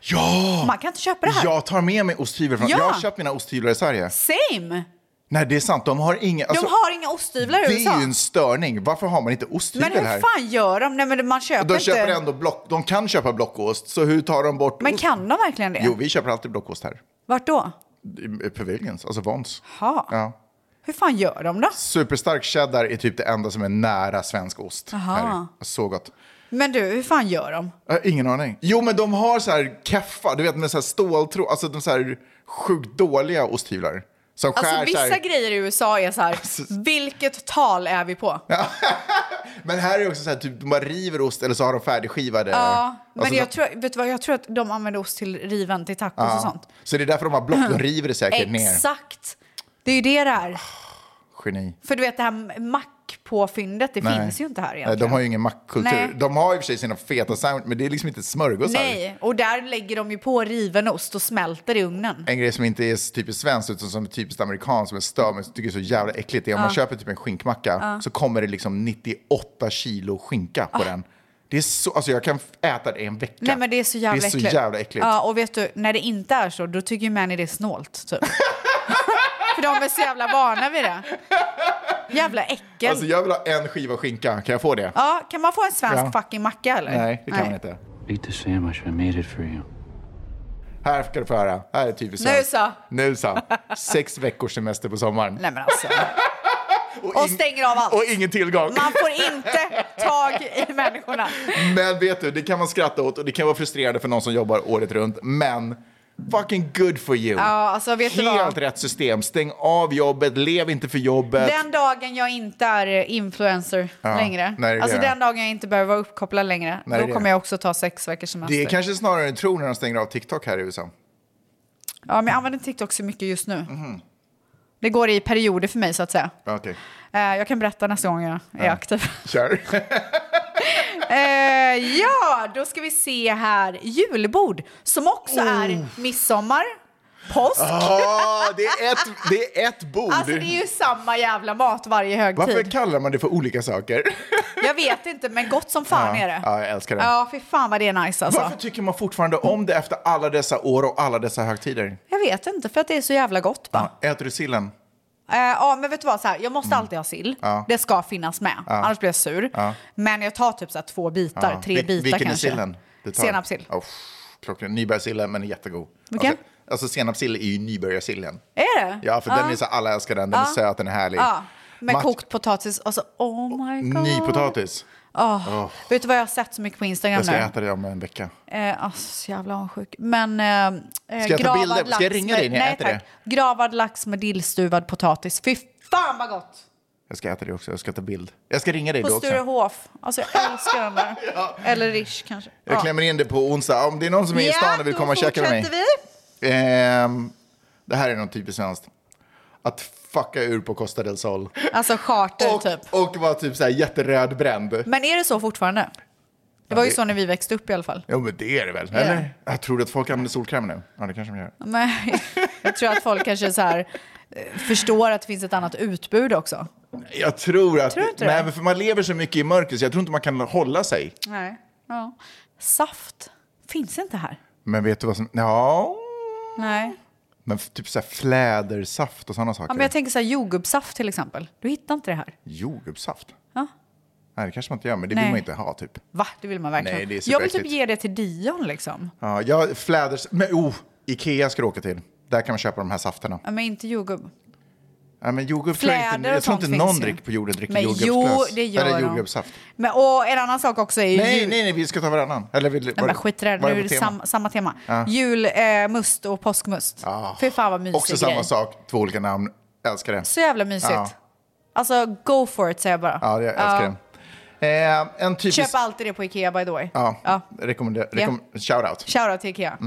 [SPEAKER 2] Ja!
[SPEAKER 1] Man kan inte köpa det här.
[SPEAKER 2] Jag tar med mig osthyvlar från...
[SPEAKER 1] Ja.
[SPEAKER 2] Jag har köpt mina osthyvlar i Sverige.
[SPEAKER 1] Same!
[SPEAKER 2] Nej, det är sant. De har inga...
[SPEAKER 1] De
[SPEAKER 2] alltså,
[SPEAKER 1] har inga osthyvlar i
[SPEAKER 2] det
[SPEAKER 1] USA.
[SPEAKER 2] är ju en störning. Varför har man inte osthyvel
[SPEAKER 1] Men hur
[SPEAKER 2] här?
[SPEAKER 1] fan gör de? Nej men man köper
[SPEAKER 2] De
[SPEAKER 1] inte.
[SPEAKER 2] köper ändå block... De kan köpa blockost, så hur tar de bort
[SPEAKER 1] Men
[SPEAKER 2] ost?
[SPEAKER 1] kan de verkligen det?
[SPEAKER 2] Jo, vi köper alltid blockost här.
[SPEAKER 1] Vart då?
[SPEAKER 2] I- i Pavilions, alltså Vons.
[SPEAKER 1] Ha.
[SPEAKER 2] Ja.
[SPEAKER 1] Hur fan gör de då?
[SPEAKER 2] Superstark cheddar är typ det enda som är nära svensk ost. Här. Så gott.
[SPEAKER 1] Men du, hur fan gör de?
[SPEAKER 2] Jag har ingen aning. Jo, men de har så här keffar, du vet med så här ståltråd, alltså de så här sjukt dåliga osthyvlar. Som skär
[SPEAKER 1] Alltså
[SPEAKER 2] så
[SPEAKER 1] vissa
[SPEAKER 2] här.
[SPEAKER 1] grejer i USA är så här, vilket tal är vi på?
[SPEAKER 2] Men här är det också så här, typ, de bara river ost eller så har de färdigskivade.
[SPEAKER 1] Ja, men
[SPEAKER 2] Alltså,
[SPEAKER 1] jag,
[SPEAKER 2] de-
[SPEAKER 1] tror, vet du vad, jag tror att de använder ost till riven till tacos och sånt.
[SPEAKER 2] Så det är därför de har block,
[SPEAKER 1] (clears throat)
[SPEAKER 2] de river det säkert ner.
[SPEAKER 1] Exakt! Det är ju det där.
[SPEAKER 2] Geni.
[SPEAKER 1] För du vet det här mackpåfyndet, det
[SPEAKER 2] Nej.
[SPEAKER 1] finns ju inte här
[SPEAKER 2] Nej,
[SPEAKER 1] egentligen.
[SPEAKER 2] De har ju ingen
[SPEAKER 1] Nej.
[SPEAKER 2] mackkultur. De har i och för sig sina feta sandwich, men det är liksom inte smörgåsar.
[SPEAKER 1] Nej, och där lägger de ju på riven ost och smälter i ugnen.
[SPEAKER 2] En grej som inte är typiskt svenskt utan som är typiskt amerikanskt som jag stör mig tycker är så jävla äckligt det är om man köper typ en skinkmacka så kommer det liksom 98 kilo skinka på den. Det är så, alltså jag kan f- äta det i en vecka.
[SPEAKER 1] Ah. Nej men det är så jävla
[SPEAKER 2] Det är så
[SPEAKER 1] äckligt.
[SPEAKER 2] jävla äckligt.
[SPEAKER 1] Ja, och vet du, när det inte är så, då tycker ju män det är snålt
[SPEAKER 2] (laughs)
[SPEAKER 1] typ. För de är så jävla vana vid det. Jävla äckel.
[SPEAKER 2] Alltså jag vill ha en skiva skinka, kan jag få det?
[SPEAKER 1] Ja, kan man få en svensk
[SPEAKER 2] Ja.
[SPEAKER 1] fucking macka eller?
[SPEAKER 2] Nej, det kan man inte.
[SPEAKER 4] Eat the sandwich. I made it for you.
[SPEAKER 2] Här ska du få höra, här är typiskt
[SPEAKER 1] Nu
[SPEAKER 2] svenskt.
[SPEAKER 1] så.
[SPEAKER 2] Nu så. Sex veckors semester på sommaren.
[SPEAKER 1] (laughs) Nej men alltså,
[SPEAKER 2] och,
[SPEAKER 1] och stänger av allt.
[SPEAKER 2] Och ingen tillgång.
[SPEAKER 1] man får inte tag i människorna.
[SPEAKER 2] Men vet du, det kan man skratta åt och det kan vara frustrerande för någon som jobbar året runt, men fucking good for you.
[SPEAKER 1] Ja, alltså vet du
[SPEAKER 2] Helt
[SPEAKER 1] vad?
[SPEAKER 2] rätt system. Stäng av jobbet, lev inte för jobbet.
[SPEAKER 1] Den dagen jag inte är influencer längre,
[SPEAKER 2] när är det
[SPEAKER 1] alltså
[SPEAKER 2] det?
[SPEAKER 1] den dagen jag inte behöver vara uppkopplad längre,
[SPEAKER 2] När är
[SPEAKER 1] då
[SPEAKER 2] det?
[SPEAKER 1] kommer jag också ta sex veckors semester.
[SPEAKER 2] Det är kanske snarare än tror när de stänger av TikTok här i USA.
[SPEAKER 1] Ja, men jag använder TikTok så mycket just nu.
[SPEAKER 2] Mhm.
[SPEAKER 1] Det går i perioder för mig så att säga.
[SPEAKER 2] Okej,
[SPEAKER 1] Eh, jag kan berätta nästa gång jag är aktiv. (laughs)
[SPEAKER 2] kör.
[SPEAKER 1] Eh, ja, då ska vi se här. Julbord, som också är midsommar, påsk.
[SPEAKER 2] Oh. Ah, det, är ett, det är ett bord.
[SPEAKER 1] Alltså det är ju samma jävla mat varje högtid.
[SPEAKER 2] Varför kallar man det för
[SPEAKER 1] (laughs)
[SPEAKER 2] olika saker?
[SPEAKER 1] Jag vet inte, men gott som fan är det.
[SPEAKER 2] ja, jag älskar det.
[SPEAKER 1] Ja, fy fan vad det är nice alltså.
[SPEAKER 2] Varför tycker man fortfarande om det efter alla dessa år och alla dessa högtider?
[SPEAKER 1] Jag vet inte, för att det är så jävla gott bara.
[SPEAKER 2] Äter du sillen?
[SPEAKER 1] Eh, Ja, men vet du vad? Så här, jag måste
[SPEAKER 2] Mm.
[SPEAKER 1] alltid ha sill. Det ska finnas med, annars blir jag sur. Men jag tar typ så här två bitar, tre
[SPEAKER 2] Vil-
[SPEAKER 1] bitar
[SPEAKER 2] vilken
[SPEAKER 1] kanske.
[SPEAKER 2] är sillen? du tar?
[SPEAKER 1] Senapssill.
[SPEAKER 2] Oh, klockren. Nybörjarsillen, men jättegod.
[SPEAKER 1] Vilken?
[SPEAKER 2] Alltså, alltså senapssill är ju nybörjarsillen.
[SPEAKER 1] Är det?
[SPEAKER 2] Ja, för den är så alla älskar den. Den är söt, den är härlig.
[SPEAKER 1] Ja, med
[SPEAKER 2] Mat-
[SPEAKER 1] kokt potatis. Alltså, oh my god.
[SPEAKER 2] Nypotatis.
[SPEAKER 1] Vet du vad jag har sett så mycket på Instagram
[SPEAKER 2] Jag ska
[SPEAKER 1] nu?
[SPEAKER 2] äta det om en vecka.
[SPEAKER 1] Eh, alltså, så jävla avundsjuk. Men eh, eh,
[SPEAKER 2] Ska jag ta
[SPEAKER 1] gravad
[SPEAKER 2] bilder? Ska jag
[SPEAKER 1] lax
[SPEAKER 2] ringa
[SPEAKER 1] med,
[SPEAKER 2] dig när jag
[SPEAKER 1] nej,
[SPEAKER 2] äter
[SPEAKER 1] tack. Gravad lax med dillstuvad potatis. Fy fan vad gott!
[SPEAKER 2] Jag ska äta det också, jag ska ta bild. Jag ska ringa dig
[SPEAKER 1] På
[SPEAKER 2] då också.
[SPEAKER 1] Sturehof. Alltså jag älskar den
[SPEAKER 2] (laughs)
[SPEAKER 1] där. Eller Rish kanske.
[SPEAKER 2] Jag klämmer in det på onsdag. Om det är någon som är i stan och vill komma och käka med mig.
[SPEAKER 1] Ja, då fortsätter vi.
[SPEAKER 2] Ehm, det här är något typiskt svenskt. Att fucka ur på Costa del Sol.
[SPEAKER 1] Alltså charter
[SPEAKER 2] Och,
[SPEAKER 1] typ.
[SPEAKER 2] och vara typ så här jätterödbränd.
[SPEAKER 1] Men är det så fortfarande? Det var ju
[SPEAKER 2] det-
[SPEAKER 1] så när vi växte upp i alla fall.
[SPEAKER 2] Jo men det är det väl? Eller? Jag tror att folk använder solkräm nu? Ja det kanske de gör.
[SPEAKER 1] Men jag tror att folk kanske så här, eh, förstår att det finns ett annat utbud också.
[SPEAKER 2] Jag tror att...
[SPEAKER 1] Tror du inte det?
[SPEAKER 2] nej men för man lever så mycket i mörker så jag tror inte man kan hålla sig.
[SPEAKER 1] Nej. Ja. Saft finns inte här.
[SPEAKER 2] Men vet du vad som... Ja.
[SPEAKER 1] Nej.
[SPEAKER 2] Men f- typ så här flädersaft och sådana saker.
[SPEAKER 1] Ja, men jag tänker så här jordgubbssaft till exempel. Du hittar inte det här.
[SPEAKER 2] Jordgubbssaft?
[SPEAKER 1] Ja.
[SPEAKER 2] Nej det kanske man inte gör men det
[SPEAKER 1] Nej.
[SPEAKER 2] vill man inte ha typ.
[SPEAKER 1] Va? Det vill man verkligen.
[SPEAKER 2] Nej, det är
[SPEAKER 1] jag vill typ
[SPEAKER 2] superäckligt.
[SPEAKER 1] ge det till Dion liksom.
[SPEAKER 2] Ja, jag, fläders... Men oh! Ikea ska du åka till. Där kan man köpa de här safterna.
[SPEAKER 1] Ja, men inte jordgubb.
[SPEAKER 2] Ja, men jordgubb tror jag
[SPEAKER 1] Fläder
[SPEAKER 2] inte.
[SPEAKER 1] och
[SPEAKER 2] Jag tror inte
[SPEAKER 1] sånt
[SPEAKER 2] någon
[SPEAKER 1] finns ju.
[SPEAKER 2] drick på jorden dricker
[SPEAKER 1] Men jo,
[SPEAKER 2] jordgubbsglass.
[SPEAKER 1] det gör
[SPEAKER 2] Eller
[SPEAKER 1] de.
[SPEAKER 2] jordgubbssaft.
[SPEAKER 1] Men, och en annan sak också är ju...
[SPEAKER 2] Nej,
[SPEAKER 1] jul-
[SPEAKER 2] nej, nej, vi ska ta varannan. Eller vill,
[SPEAKER 1] Nej, men skit i det, nu
[SPEAKER 2] var
[SPEAKER 1] är
[SPEAKER 2] på
[SPEAKER 1] det
[SPEAKER 2] tema?
[SPEAKER 1] sam, samma tema. Julmust eh, must och påskmust.
[SPEAKER 2] Ah.
[SPEAKER 1] Fy fan vad mysig
[SPEAKER 2] Också
[SPEAKER 1] grej.
[SPEAKER 2] samma sak, två olika namn. Älskar det.
[SPEAKER 1] Så jävla mysigt.
[SPEAKER 2] Ja.
[SPEAKER 1] Alltså, go for it säger jag bara.
[SPEAKER 2] Ja, jag älskar
[SPEAKER 1] Ja.
[SPEAKER 2] det. Eh, en typisk...
[SPEAKER 1] Köp alltid det på Ikea by the way.
[SPEAKER 2] Ja, rekommender... Rekom... Shoutout.
[SPEAKER 1] Shoutout till Ikea.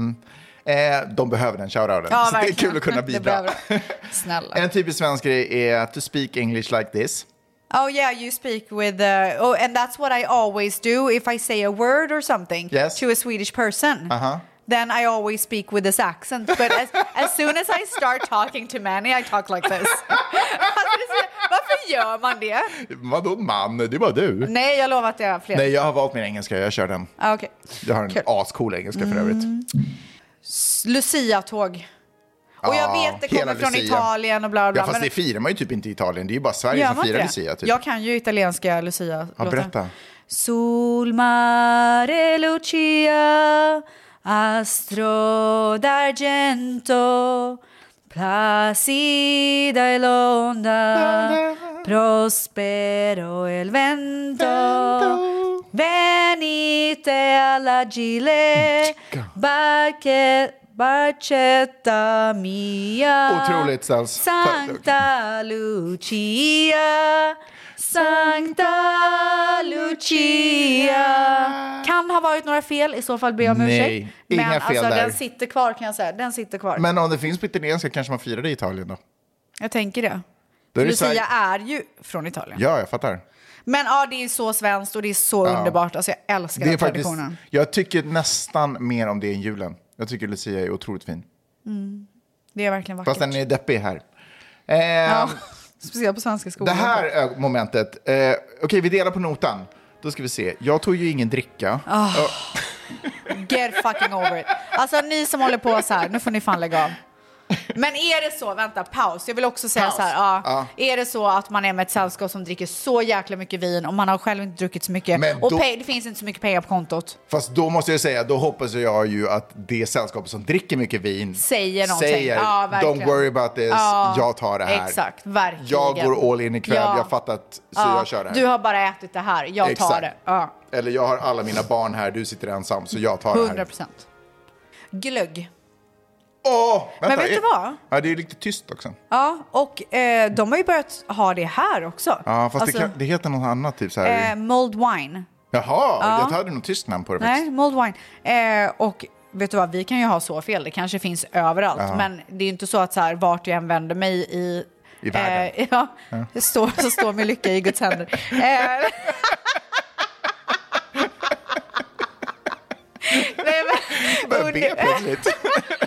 [SPEAKER 2] Eh, de behöver den shoutouten.
[SPEAKER 1] Ja,
[SPEAKER 2] så (laughs) det är
[SPEAKER 1] verkligen.
[SPEAKER 2] kul att kunna
[SPEAKER 1] Det
[SPEAKER 2] bidra.
[SPEAKER 1] behöver
[SPEAKER 2] (laughs)
[SPEAKER 1] Snälla.
[SPEAKER 2] en typisk svensk grej är to speak English like this.
[SPEAKER 1] Oh yeah, you speak with... Uh, oh, and that's what I always do if I say a word or something
[SPEAKER 2] Yes.
[SPEAKER 1] to a Swedish person. Uh-huh. Then I always speak with this accent. But as, as soon as I start talking to Manny I talk like this. (laughs) alltså, det är så, varför gör man det?
[SPEAKER 2] Vadå man? Det var du.
[SPEAKER 1] Nej, jag lovar att jag har fler.
[SPEAKER 2] Nej, jag har valt min engelska. Jag kör den.
[SPEAKER 1] Ah, okej.
[SPEAKER 2] Jag har en
[SPEAKER 1] Kul.
[SPEAKER 2] ascool engelska för övrigt.
[SPEAKER 1] Lucia-tåg. Och jag
[SPEAKER 2] Ja,
[SPEAKER 1] vet det
[SPEAKER 2] hela
[SPEAKER 1] kommer från
[SPEAKER 2] Lucia.
[SPEAKER 1] Italien och bla bla.
[SPEAKER 2] Ja, fast det firar man ju typ inte i Italien. Det är ju bara Sverige
[SPEAKER 1] Gör
[SPEAKER 2] som
[SPEAKER 1] man
[SPEAKER 2] firar
[SPEAKER 1] inte det?
[SPEAKER 2] Lucia. Typ.
[SPEAKER 1] Jag kan ju italienska Lucia-låtar.
[SPEAKER 2] Ja, berätta.
[SPEAKER 1] Sul mare Lucia Astro d'argento Placida e l'onda Prospero il vento Venite alla gile barche- Barcetta mia
[SPEAKER 2] Otroligt, Sals.
[SPEAKER 1] Santa Lucia Santa Lucia Kan ha varit några fel, i så fall ber jag om
[SPEAKER 2] Nej,
[SPEAKER 1] ursäkt.
[SPEAKER 2] inga
[SPEAKER 1] Men
[SPEAKER 2] fel
[SPEAKER 1] alltså,
[SPEAKER 2] där.
[SPEAKER 1] den sitter kvar kan jag säga. Den sitter kvar.
[SPEAKER 2] Men om det finns på italienska kanske man firar det i Italien då?
[SPEAKER 1] jag tänker det.
[SPEAKER 2] Då är det så här-
[SPEAKER 1] Lucia är ju från Italien.
[SPEAKER 2] Ja, jag fattar.
[SPEAKER 1] Men ja, det är så svenskt och det är så underbart. Alltså, jag älskar
[SPEAKER 2] Det är
[SPEAKER 1] den
[SPEAKER 2] faktiskt,
[SPEAKER 1] traditionen.
[SPEAKER 2] jag tycker nästan mer om det än julen. Jag tycker Lucia är otroligt fin.
[SPEAKER 1] Det är verkligen vackert.
[SPEAKER 2] Fast den är deppig här. Eh,
[SPEAKER 1] ja, speciellt på svenska skolor.
[SPEAKER 2] Det här ö- momentet, eh, okej vi delar på notan. Då ska vi se, jag tog ju ingen dricka.
[SPEAKER 1] Get fucking over it. Alltså ni som håller på så här, nu får ni fan lägga av. Men är det så, vänta, paus. Jag vill också säga
[SPEAKER 2] Paus.
[SPEAKER 1] så här, ja,
[SPEAKER 2] Ja.
[SPEAKER 1] är det så att man är med ett sällskap som dricker så jäkla mycket vin och man har själv inte druckit så mycket
[SPEAKER 2] Men
[SPEAKER 1] och
[SPEAKER 2] då-
[SPEAKER 1] pe- det finns inte så mycket pengar på kontot.
[SPEAKER 2] Fast då måste jag säga, då hoppas jag ju att det sällskapet som dricker mycket vin
[SPEAKER 1] Säger någonting.
[SPEAKER 2] säger,
[SPEAKER 1] Ja, verkligen.
[SPEAKER 2] don't worry about this,
[SPEAKER 1] Ja,
[SPEAKER 2] jag tar det här.
[SPEAKER 1] Exakt, verkligen.
[SPEAKER 2] Jag går all in ikväll,
[SPEAKER 1] Ja.
[SPEAKER 2] jag fattar att, så
[SPEAKER 1] Ja,
[SPEAKER 2] jag kör det här.
[SPEAKER 1] Du har bara ätit det här, jag tar
[SPEAKER 2] Exakt.
[SPEAKER 1] det. Ja,
[SPEAKER 2] Eller jag har alla mina barn här, du sitter ensam så jag tar det
[SPEAKER 1] 100
[SPEAKER 2] här.
[SPEAKER 1] procent. Glögg.
[SPEAKER 2] Åh, vänta,
[SPEAKER 1] vet du
[SPEAKER 2] är-
[SPEAKER 1] vad?
[SPEAKER 2] Ja, det är lite tyst också.
[SPEAKER 1] Ja, och eh, de har ju börjat ha det här också.
[SPEAKER 2] Ja, fast
[SPEAKER 1] Alltså,
[SPEAKER 2] det, kan, det heter något annat typ så här.
[SPEAKER 1] eh, Mulled wine.
[SPEAKER 2] Jaha, jag hade nog tyst namn på det
[SPEAKER 1] Nej,
[SPEAKER 2] faktiskt.
[SPEAKER 1] mulled wine. Eh, och vet du vad, vi kan ju ha så fel. Det kanske finns överallt. Men det är ju inte så att så här, vart jag än vänder mig i...
[SPEAKER 2] I världen.
[SPEAKER 1] Eh, (laughs) ja, det Står, så står min lycka i Guds händer.
[SPEAKER 2] (laughs)
[SPEAKER 1] Eh, Nej, men, (laughs)
[SPEAKER 2] Börjar be
[SPEAKER 1] under,
[SPEAKER 2] plötsligt.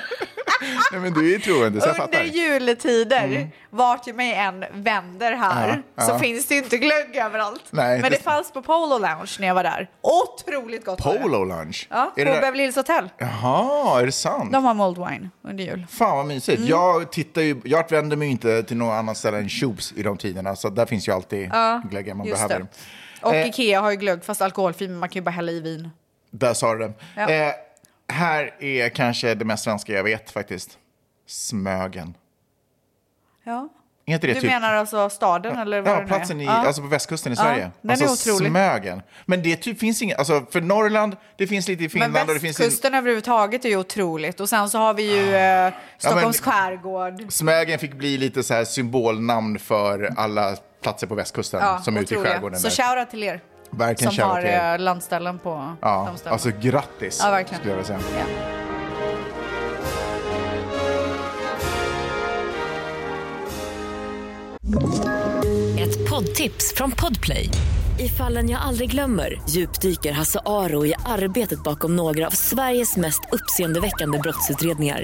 [SPEAKER 2] (laughs) Nej men du är ju troende så jag
[SPEAKER 1] under
[SPEAKER 2] fattar. Mm.
[SPEAKER 1] juletider, vart jag mig än vänder här,
[SPEAKER 2] Ja,
[SPEAKER 1] så
[SPEAKER 2] ja.
[SPEAKER 1] finns det ju inte glögg överallt.
[SPEAKER 2] Nej,
[SPEAKER 1] men
[SPEAKER 2] det-
[SPEAKER 1] det fanns på Polo Lounge när jag var där. Otroligt gott var det.
[SPEAKER 2] Polo lunch?
[SPEAKER 1] Ja, på
[SPEAKER 2] är det där-
[SPEAKER 1] Beverly Hills Hotel.
[SPEAKER 2] Jaha, är det sant?
[SPEAKER 1] De har mulled wine under jul.
[SPEAKER 2] Fan vad mysigt.
[SPEAKER 1] Mm.
[SPEAKER 2] Jag, tittar ju, jag vänder mig ju inte till någon annan ställe än Tjobs i de tiderna. Så där finns ju alltid glöggen man behöver.
[SPEAKER 1] Och
[SPEAKER 2] Eh.
[SPEAKER 1] Ikea har ju glögg, fast alkoholfri, men man kan ju bara hälla i vin.
[SPEAKER 2] Där sa du det.
[SPEAKER 1] Ja.
[SPEAKER 2] Eh, här är kanske det mest svenska jag vet faktiskt. Smögen.
[SPEAKER 1] Ja.
[SPEAKER 2] Är inte det
[SPEAKER 1] Du
[SPEAKER 2] typ...
[SPEAKER 1] menar alltså staden eller vad
[SPEAKER 2] Ja,
[SPEAKER 1] det nu
[SPEAKER 2] platsen
[SPEAKER 1] är?
[SPEAKER 2] i,
[SPEAKER 1] Ja.
[SPEAKER 2] alltså på västkusten i Sverige.
[SPEAKER 1] den
[SPEAKER 2] alltså
[SPEAKER 1] är otrolig.
[SPEAKER 2] Smögen. Men det typ finns inget, alltså för Norrland, det finns lite i
[SPEAKER 1] Men
[SPEAKER 2] Finland och det finns Ah. i...
[SPEAKER 1] västkusten överhuvudtaget är ju otroligt. Och sen så har vi ju eh, Stockholms skärgård.
[SPEAKER 2] Smögen fick bli lite så här symbolnamn för alla platser på västkusten
[SPEAKER 1] Ja,
[SPEAKER 2] som är ute i
[SPEAKER 1] otroliga.
[SPEAKER 2] skärgården.
[SPEAKER 1] Så
[SPEAKER 2] där.
[SPEAKER 1] shoutout till er
[SPEAKER 2] Verkligen
[SPEAKER 1] som har
[SPEAKER 2] shoutout till er.
[SPEAKER 1] eh, landställen på
[SPEAKER 2] ja,
[SPEAKER 1] de ställena.
[SPEAKER 2] alltså grattis
[SPEAKER 1] Ja, verkligen.
[SPEAKER 2] skulle jag vilja säga.
[SPEAKER 1] Ja.
[SPEAKER 5] Ett poddtips från Podplay. I fallen jag aldrig glömmer djupdyker Hasse Aro i arbetet bakom några av Sveriges mest uppseendeväckande brottsutredningar.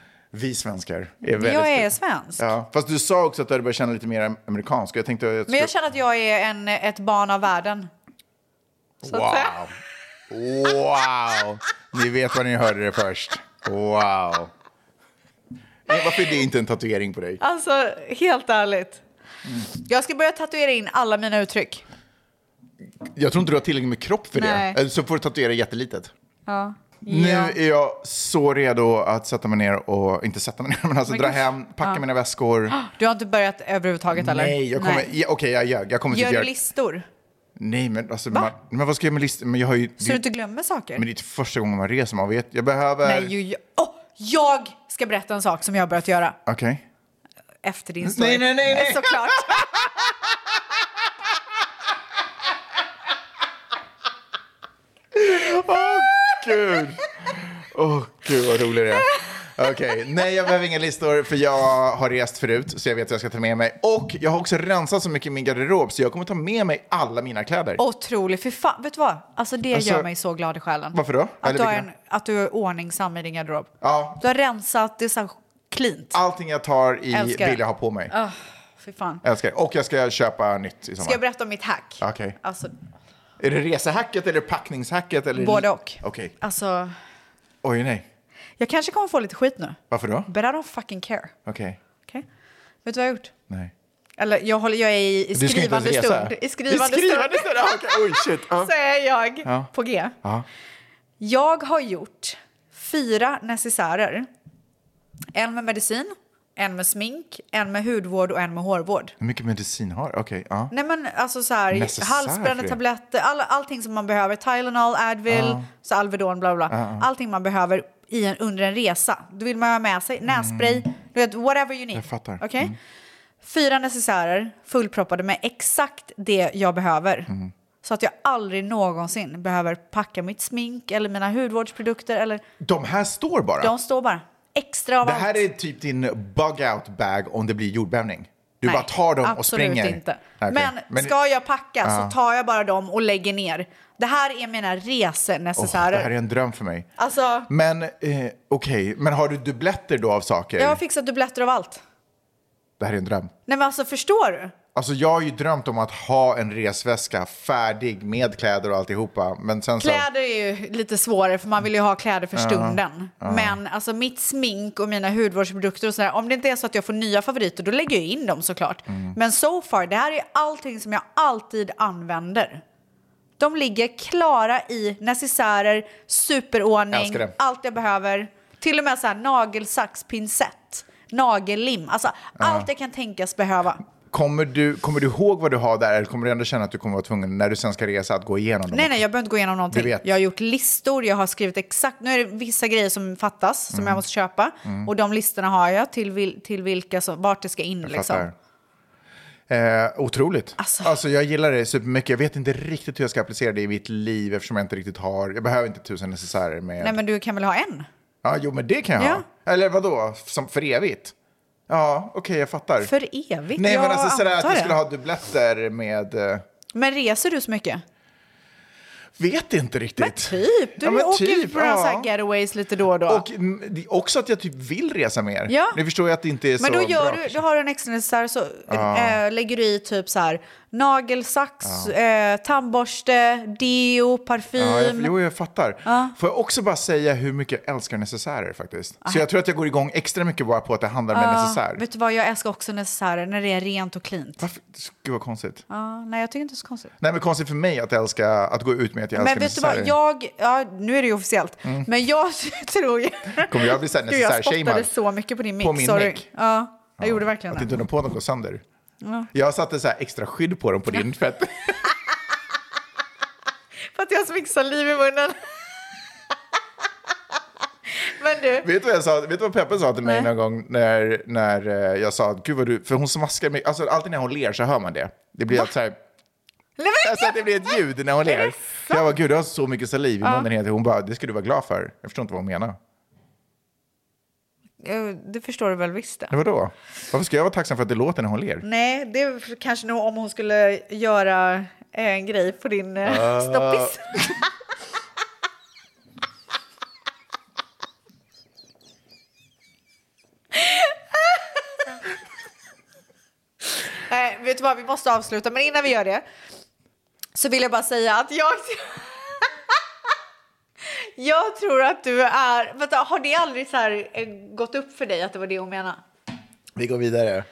[SPEAKER 2] Vi svenskar är väldigt...
[SPEAKER 1] Jag är svensk.
[SPEAKER 2] Ja, fast du sa också att du hade börjat känna lite mer amerikansk. Jag tänkte att jag
[SPEAKER 1] Men jag
[SPEAKER 2] skulle-
[SPEAKER 1] känner att jag är en, ett barn av världen. Så att säga.
[SPEAKER 2] Wow. Wow. Ni vet var ni hörde det först. Wow. Men Varför är det inte en tatuering på dig?
[SPEAKER 1] (laughs) Alltså, helt ärligt.
[SPEAKER 2] Mm.
[SPEAKER 1] Jag ska börja tatuera in alla mina uttryck.
[SPEAKER 2] Jag tror inte du har tillräckligt med kropp för
[SPEAKER 1] Nej.
[SPEAKER 2] det. Eller så får du tatuera jättelitet.
[SPEAKER 1] Ja.
[SPEAKER 2] Nu är jag så redo att sätta mig ner och, inte sätta mig ner, (laughs) men alltså
[SPEAKER 1] Men
[SPEAKER 2] dra
[SPEAKER 1] gud.
[SPEAKER 2] hem, packa mina väskor.
[SPEAKER 1] Du har inte börjat överhuvudtaget (gasps) eller?
[SPEAKER 2] Nej, jag kommer, ja, okej jag ljög. Jag kommer
[SPEAKER 1] Gör
[SPEAKER 2] till
[SPEAKER 1] du
[SPEAKER 2] Björk.
[SPEAKER 1] listor?
[SPEAKER 2] Nej, men alltså, man, men vad ska jag göra med listan? Men jag har ju,
[SPEAKER 1] Så
[SPEAKER 2] det,
[SPEAKER 1] du inte glömmer saker?
[SPEAKER 2] men det är inte första gången man reser, man vet. Jag behöver...
[SPEAKER 1] Nej, ju, oh, jag ska berätta en sak som jag har börjat göra
[SPEAKER 2] Okej.
[SPEAKER 1] efter din story.
[SPEAKER 2] Nej, nej, nej,
[SPEAKER 1] (laughs)
[SPEAKER 2] nej.
[SPEAKER 1] Såklart.
[SPEAKER 2] Gud! Åh, gud vad rolig det är. Okej, nej jag behöver inga listor för jag har rest förut så jag vet vad jag ska ta med mig. Och jag har också rensat så mycket i min garderob så jag kommer ta med mig alla mina kläder.
[SPEAKER 1] Otroligt. För fan, vet du vad? Alltså det
[SPEAKER 2] Alltså-
[SPEAKER 1] gör mig så glad i själen.
[SPEAKER 2] Varför då?
[SPEAKER 1] Att,
[SPEAKER 2] Eller
[SPEAKER 1] du, har
[SPEAKER 2] vilken-
[SPEAKER 1] en, att du är ordningsam i din garderob.
[SPEAKER 2] Ja.
[SPEAKER 1] Du har rensat, det är så här cleant.
[SPEAKER 2] Allting jag tar i
[SPEAKER 1] Älskar det.
[SPEAKER 2] vill jag ha på mig.
[SPEAKER 1] Fy fan.
[SPEAKER 2] Älskar det. Och jag ska köpa nytt i
[SPEAKER 1] Ska jag
[SPEAKER 2] sommar.
[SPEAKER 1] berätta om mitt hack?
[SPEAKER 2] Okej.
[SPEAKER 1] Alltså,
[SPEAKER 2] Är det resehacket eller packningshacket? Eller...
[SPEAKER 1] både och.
[SPEAKER 2] Okej.
[SPEAKER 1] Alltså,
[SPEAKER 2] Oj, nej.
[SPEAKER 1] jag kanske kommer få lite skit nu.
[SPEAKER 2] Varför då?
[SPEAKER 1] But I don't fucking care.
[SPEAKER 2] Okej.
[SPEAKER 1] Okej? Vet du vad jag har gjort?
[SPEAKER 2] Nej.
[SPEAKER 1] Eller jag, håller, jag är i, i
[SPEAKER 2] Du ska inte ens
[SPEAKER 1] skrivande
[SPEAKER 2] resa.
[SPEAKER 1] stund. I skrivande,
[SPEAKER 2] I skrivande
[SPEAKER 1] stund
[SPEAKER 2] stund? Ah, okej. Oj, shit. Ja.
[SPEAKER 1] så är jag
[SPEAKER 2] Ja.
[SPEAKER 1] på G.
[SPEAKER 2] Ja.
[SPEAKER 1] Jag har gjort fyra necessärer. En med medicin, en med smink, en med hudvård och en med hårvård.
[SPEAKER 2] Hur mycket medicin har Okej, ja.
[SPEAKER 1] Nej men alltså så här,
[SPEAKER 2] Necessär för
[SPEAKER 1] halsbrännande
[SPEAKER 2] det.
[SPEAKER 1] tabletter, all, allting som man behöver. Tylenol, Advil, så Alvedon, bla bla. bla. Allting man behöver i en, under en resa. Då vill man ha med sig nässpray, du vet, whatever you need.
[SPEAKER 2] Mm. Jag fattar. Mm.
[SPEAKER 1] Okej? Fyra necessärer fullproppade med exakt det jag behöver.
[SPEAKER 2] Mm.
[SPEAKER 1] Så att jag aldrig någonsin behöver packa mitt smink eller mina hudvårdsprodukter. Eller,
[SPEAKER 2] De här står bara.
[SPEAKER 1] De står bara extra av
[SPEAKER 2] Det
[SPEAKER 1] allt.
[SPEAKER 2] här är typ din bug-out bag om det blir jordbävning. Du
[SPEAKER 1] Nej,
[SPEAKER 2] bara tar dem och
[SPEAKER 1] absolut
[SPEAKER 2] springer.
[SPEAKER 1] Inte.
[SPEAKER 2] Okej.
[SPEAKER 1] Men, ska jag packa så tar jag bara dem och lägger ner. Det här är mina
[SPEAKER 2] Åh, det här
[SPEAKER 1] resenecessärer.
[SPEAKER 2] är en dröm för mig.
[SPEAKER 1] Alltså,
[SPEAKER 2] Men eh, okej, men har du dubbletter då av saker?
[SPEAKER 1] jag har fixat dubbletter av allt.
[SPEAKER 2] Det här är en dröm.
[SPEAKER 1] Nej men alltså förstår du?
[SPEAKER 2] Alltså jag har ju drömt om att ha en resväska färdig med kläder och alltihopa. Men sen så...
[SPEAKER 1] Kläder är ju lite svårare för man vill ju ha kläder för stunden. Men alltså mitt smink och mina hudvårdsprodukter och sådär. Om det inte är så att jag får nya favoriter då lägger jag in dem såklart.
[SPEAKER 2] Mm.
[SPEAKER 1] Men so far, det här är allting som jag alltid använder. De ligger klara i necessärer, superordning,
[SPEAKER 2] Älskar det.
[SPEAKER 1] allt jag behöver. Till och med så här nagelsax, pincett, nagellim. Alltså allt jag kan tänkas behöva.
[SPEAKER 2] Kommer du, kommer du ihåg vad du har där eller kommer du ändå känna att du kommer vara tvungen när du sen ska resa att gå igenom dem?
[SPEAKER 1] Nej, nej, jag behöver inte gå igenom någonting.
[SPEAKER 2] Du vet.
[SPEAKER 1] Jag har gjort listor, jag har skrivit exakt. Nu är det vissa grejer som fattas
[SPEAKER 2] Mm.
[SPEAKER 1] som jag måste köpa. Och de listorna har jag till, vil, till vilka som, vart det ska in.
[SPEAKER 2] Jag
[SPEAKER 1] Liksom.
[SPEAKER 2] fattar. Eh, otroligt.
[SPEAKER 1] Alltså.
[SPEAKER 2] Alltså. jag gillar det supermycket. Jag vet inte riktigt hur jag ska applicera det i mitt liv eftersom jag inte riktigt har... Jag behöver inte tusen necessärer med...
[SPEAKER 1] Nej, men du kan väl ha en?
[SPEAKER 2] Ja, jo, men det kan jag
[SPEAKER 1] Ja.
[SPEAKER 2] ha. Eller vadå? Som för evigt? Ja, okej, jag fattar.
[SPEAKER 1] För evigt?
[SPEAKER 2] Nej,
[SPEAKER 1] jag
[SPEAKER 2] men alltså sådär
[SPEAKER 1] antar
[SPEAKER 2] att jag
[SPEAKER 1] det.
[SPEAKER 2] skulle ha dubbletter med... eh,
[SPEAKER 1] Men reser du så mycket?
[SPEAKER 2] vet inte riktigt.
[SPEAKER 1] Men typ, du
[SPEAKER 2] Ja, men
[SPEAKER 1] åker ju
[SPEAKER 2] typ,
[SPEAKER 1] på några så
[SPEAKER 2] ja.
[SPEAKER 1] här getaways lite då och då.
[SPEAKER 2] Och mm, det- också att jag typ vill resa mer.
[SPEAKER 1] Ja.
[SPEAKER 2] Nu förstår jag att det inte är
[SPEAKER 1] men
[SPEAKER 2] så
[SPEAKER 1] då gör
[SPEAKER 2] bra.
[SPEAKER 1] du, du har en extra necessär så eh, lägger du i typ så här nagelsax, eh, tandborste, deo,
[SPEAKER 2] Ja, jag,
[SPEAKER 1] parfym.
[SPEAKER 2] jo, jag fattar. Får jag också bara säga hur mycket jag älskar necessärer faktiskt? Så jag tror att jag går igång extra mycket bara på att det handlar om en necessär.
[SPEAKER 1] Ah. Vet du vad, jag älskar också necessärer när det är rent och klint.
[SPEAKER 2] Varför? Gud vad konstigt.
[SPEAKER 1] Ja, nej, jag tycker inte det är så konstigt.
[SPEAKER 2] Nej, men konstigt för mig att älska, att gå ut med att jag
[SPEAKER 1] Men
[SPEAKER 2] älskar
[SPEAKER 1] vet du vad,
[SPEAKER 2] necessärer.
[SPEAKER 1] jag, ja, nu är det ju officiellt, men jag (laughs) tror ju...
[SPEAKER 2] Kommer jag bli Alltså, så här
[SPEAKER 1] Gud, jag spottade
[SPEAKER 2] necessärshamead?
[SPEAKER 1] så mycket på din mick.
[SPEAKER 2] På min
[SPEAKER 1] sorry.
[SPEAKER 2] mick?
[SPEAKER 1] Ja, jag gjorde verkligen
[SPEAKER 2] Att
[SPEAKER 1] det.
[SPEAKER 2] inte undra på att de går sönder. Jag satte så här extra skydd på dem på din för att
[SPEAKER 1] För att jag har så mycket saliv i munnen. (laughs) men du,
[SPEAKER 2] (laughs) Vet du vad, jag sa, vet du vad Peppe sa till mig någon gång när, när eh, jag sa att gud vad du, för hon smaskar mig, alltså alltid när hon ler så hör man det. Det blir att så här,
[SPEAKER 1] nej, men-
[SPEAKER 2] alltså att det blir ett ljud när hon ler. Jag var gud du har så mycket saliv i munnen hela tiden. Hon bara, det ska du vara glad för. Jag förstår inte vad hon menar.
[SPEAKER 1] Eh, det förstår du väl visst det.
[SPEAKER 2] Det var då. Varför ska jag vara tacksam för att det låter när hon ler?
[SPEAKER 1] Nej, det är kanske nog om hon skulle göra eh, en grej på din uh. (laughs) snoppis. Nej, Eh, vet du vad, vi måste avsluta. Men innan vi gör det så vill jag bara säga att jag... (laughs) jag tror att du är... Vänta, har det aldrig så här eh, gått upp för dig att det var det hon menade?
[SPEAKER 2] Vi går vidare.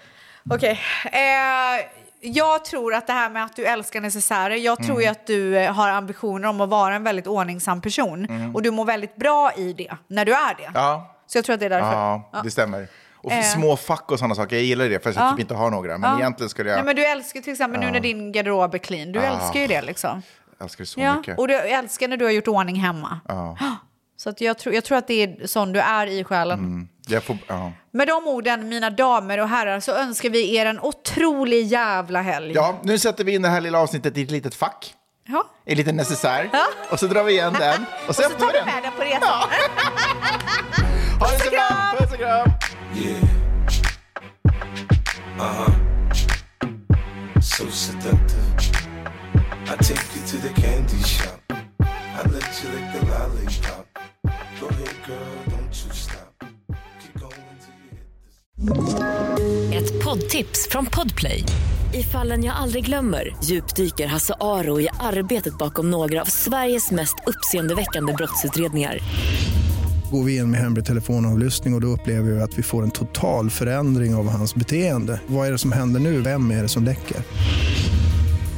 [SPEAKER 1] Okej. Eh, jag tror att det här med att du älskar necessärer, jag tror ju
[SPEAKER 2] Mm.
[SPEAKER 1] att du eh, har ambitioner om att vara en väldigt ordningsam person. Och du mår väldigt bra i det, när du är det.
[SPEAKER 2] Mm. Ja,
[SPEAKER 1] Så jag tror att det är därför.
[SPEAKER 2] ja det stämmer. Och
[SPEAKER 1] Eh.
[SPEAKER 2] små fack och sådana saker, jag gillar det fast jag typ inte har några. Men egentligen skulle jag
[SPEAKER 1] Nej, men du älskar till exempel nu när din garderob är clean, du älskar ju det liksom.
[SPEAKER 2] älskar det så
[SPEAKER 1] Ja.
[SPEAKER 2] mycket.
[SPEAKER 1] Och du älskar när du har gjort ordning hemma. (gasps) Så att jag, tror, jag tror att det är sån du är i själen.
[SPEAKER 2] Jag får, ja.
[SPEAKER 1] Med de orden, mina damer och herrar, så önskar vi er en otrolig jävla helg.
[SPEAKER 2] ja, nu sätter vi in det här lilla avsnittet i ett litet fack.
[SPEAKER 1] Ja.
[SPEAKER 2] en liten necessär.
[SPEAKER 1] Ja.
[SPEAKER 2] Och så drar vi igen den. Och så,
[SPEAKER 1] Och så
[SPEAKER 2] öppnar
[SPEAKER 1] tar
[SPEAKER 2] vi
[SPEAKER 1] vi
[SPEAKER 2] den.
[SPEAKER 1] med den på resan.
[SPEAKER 2] Ha det så bra! Puss och kram!
[SPEAKER 7] so seductive. I take you to the candy shop. I let you lick the lollipop. Go ahead, girl, don't you stop. Keep going till you hit the
[SPEAKER 5] Ett poddtips från Podplay. I fallen jag aldrig glömmer djupdyker Hasse Aro i arbetet bakom några av Sveriges mest uppseendeväckande brottsutredningar.
[SPEAKER 8] Går vi in med hemlig telefonavlyssning och, och då upplever vi att vi får en total förändring av hans beteende. Vad är det som händer nu? Vem är det som läcker?